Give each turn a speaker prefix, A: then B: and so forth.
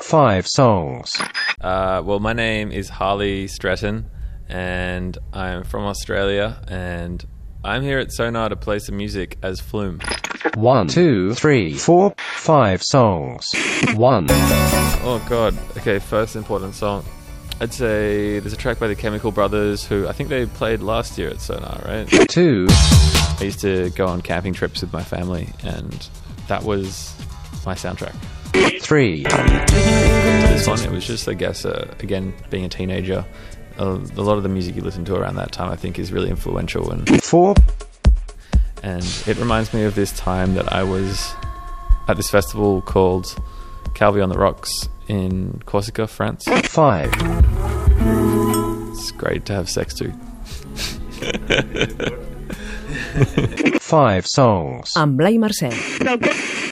A: five songs.
B: Uh, well, my name is Harley Stratton, and I'm from Australia, and I'm here at Sonar to play some music as Flume.
A: One, two, three, four, five songs. One,
B: Oh god. Okay, first important song. I'd say there's a track by the Chemical Brothers who I think they played last year at Sonar, right?
A: two,
B: I used to go on camping trips with my family and that was my soundtrack.
A: three,
B: To This one, it was just I guess uh, again being a teenager, uh, a lot of the music you listen to around that time I think is really influential and
A: four,
B: and it reminds me of this time that I was at this festival called Calvi on the Rocks in Corsica, France.
A: five,
B: It's great to have sex to.
A: five songs.
C: amb Blai Mercè.